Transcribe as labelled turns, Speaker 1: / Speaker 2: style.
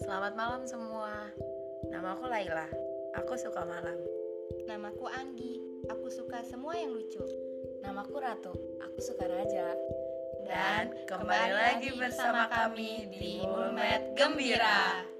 Speaker 1: Selamat malam semua. Nama aku Laila. Aku suka malam.
Speaker 2: Namaku Anggi. Aku suka semua yang lucu.
Speaker 3: Namaku Ratu. Aku suka raja.
Speaker 1: Dan kembali lagi bersama kami di Mulmet Gembira.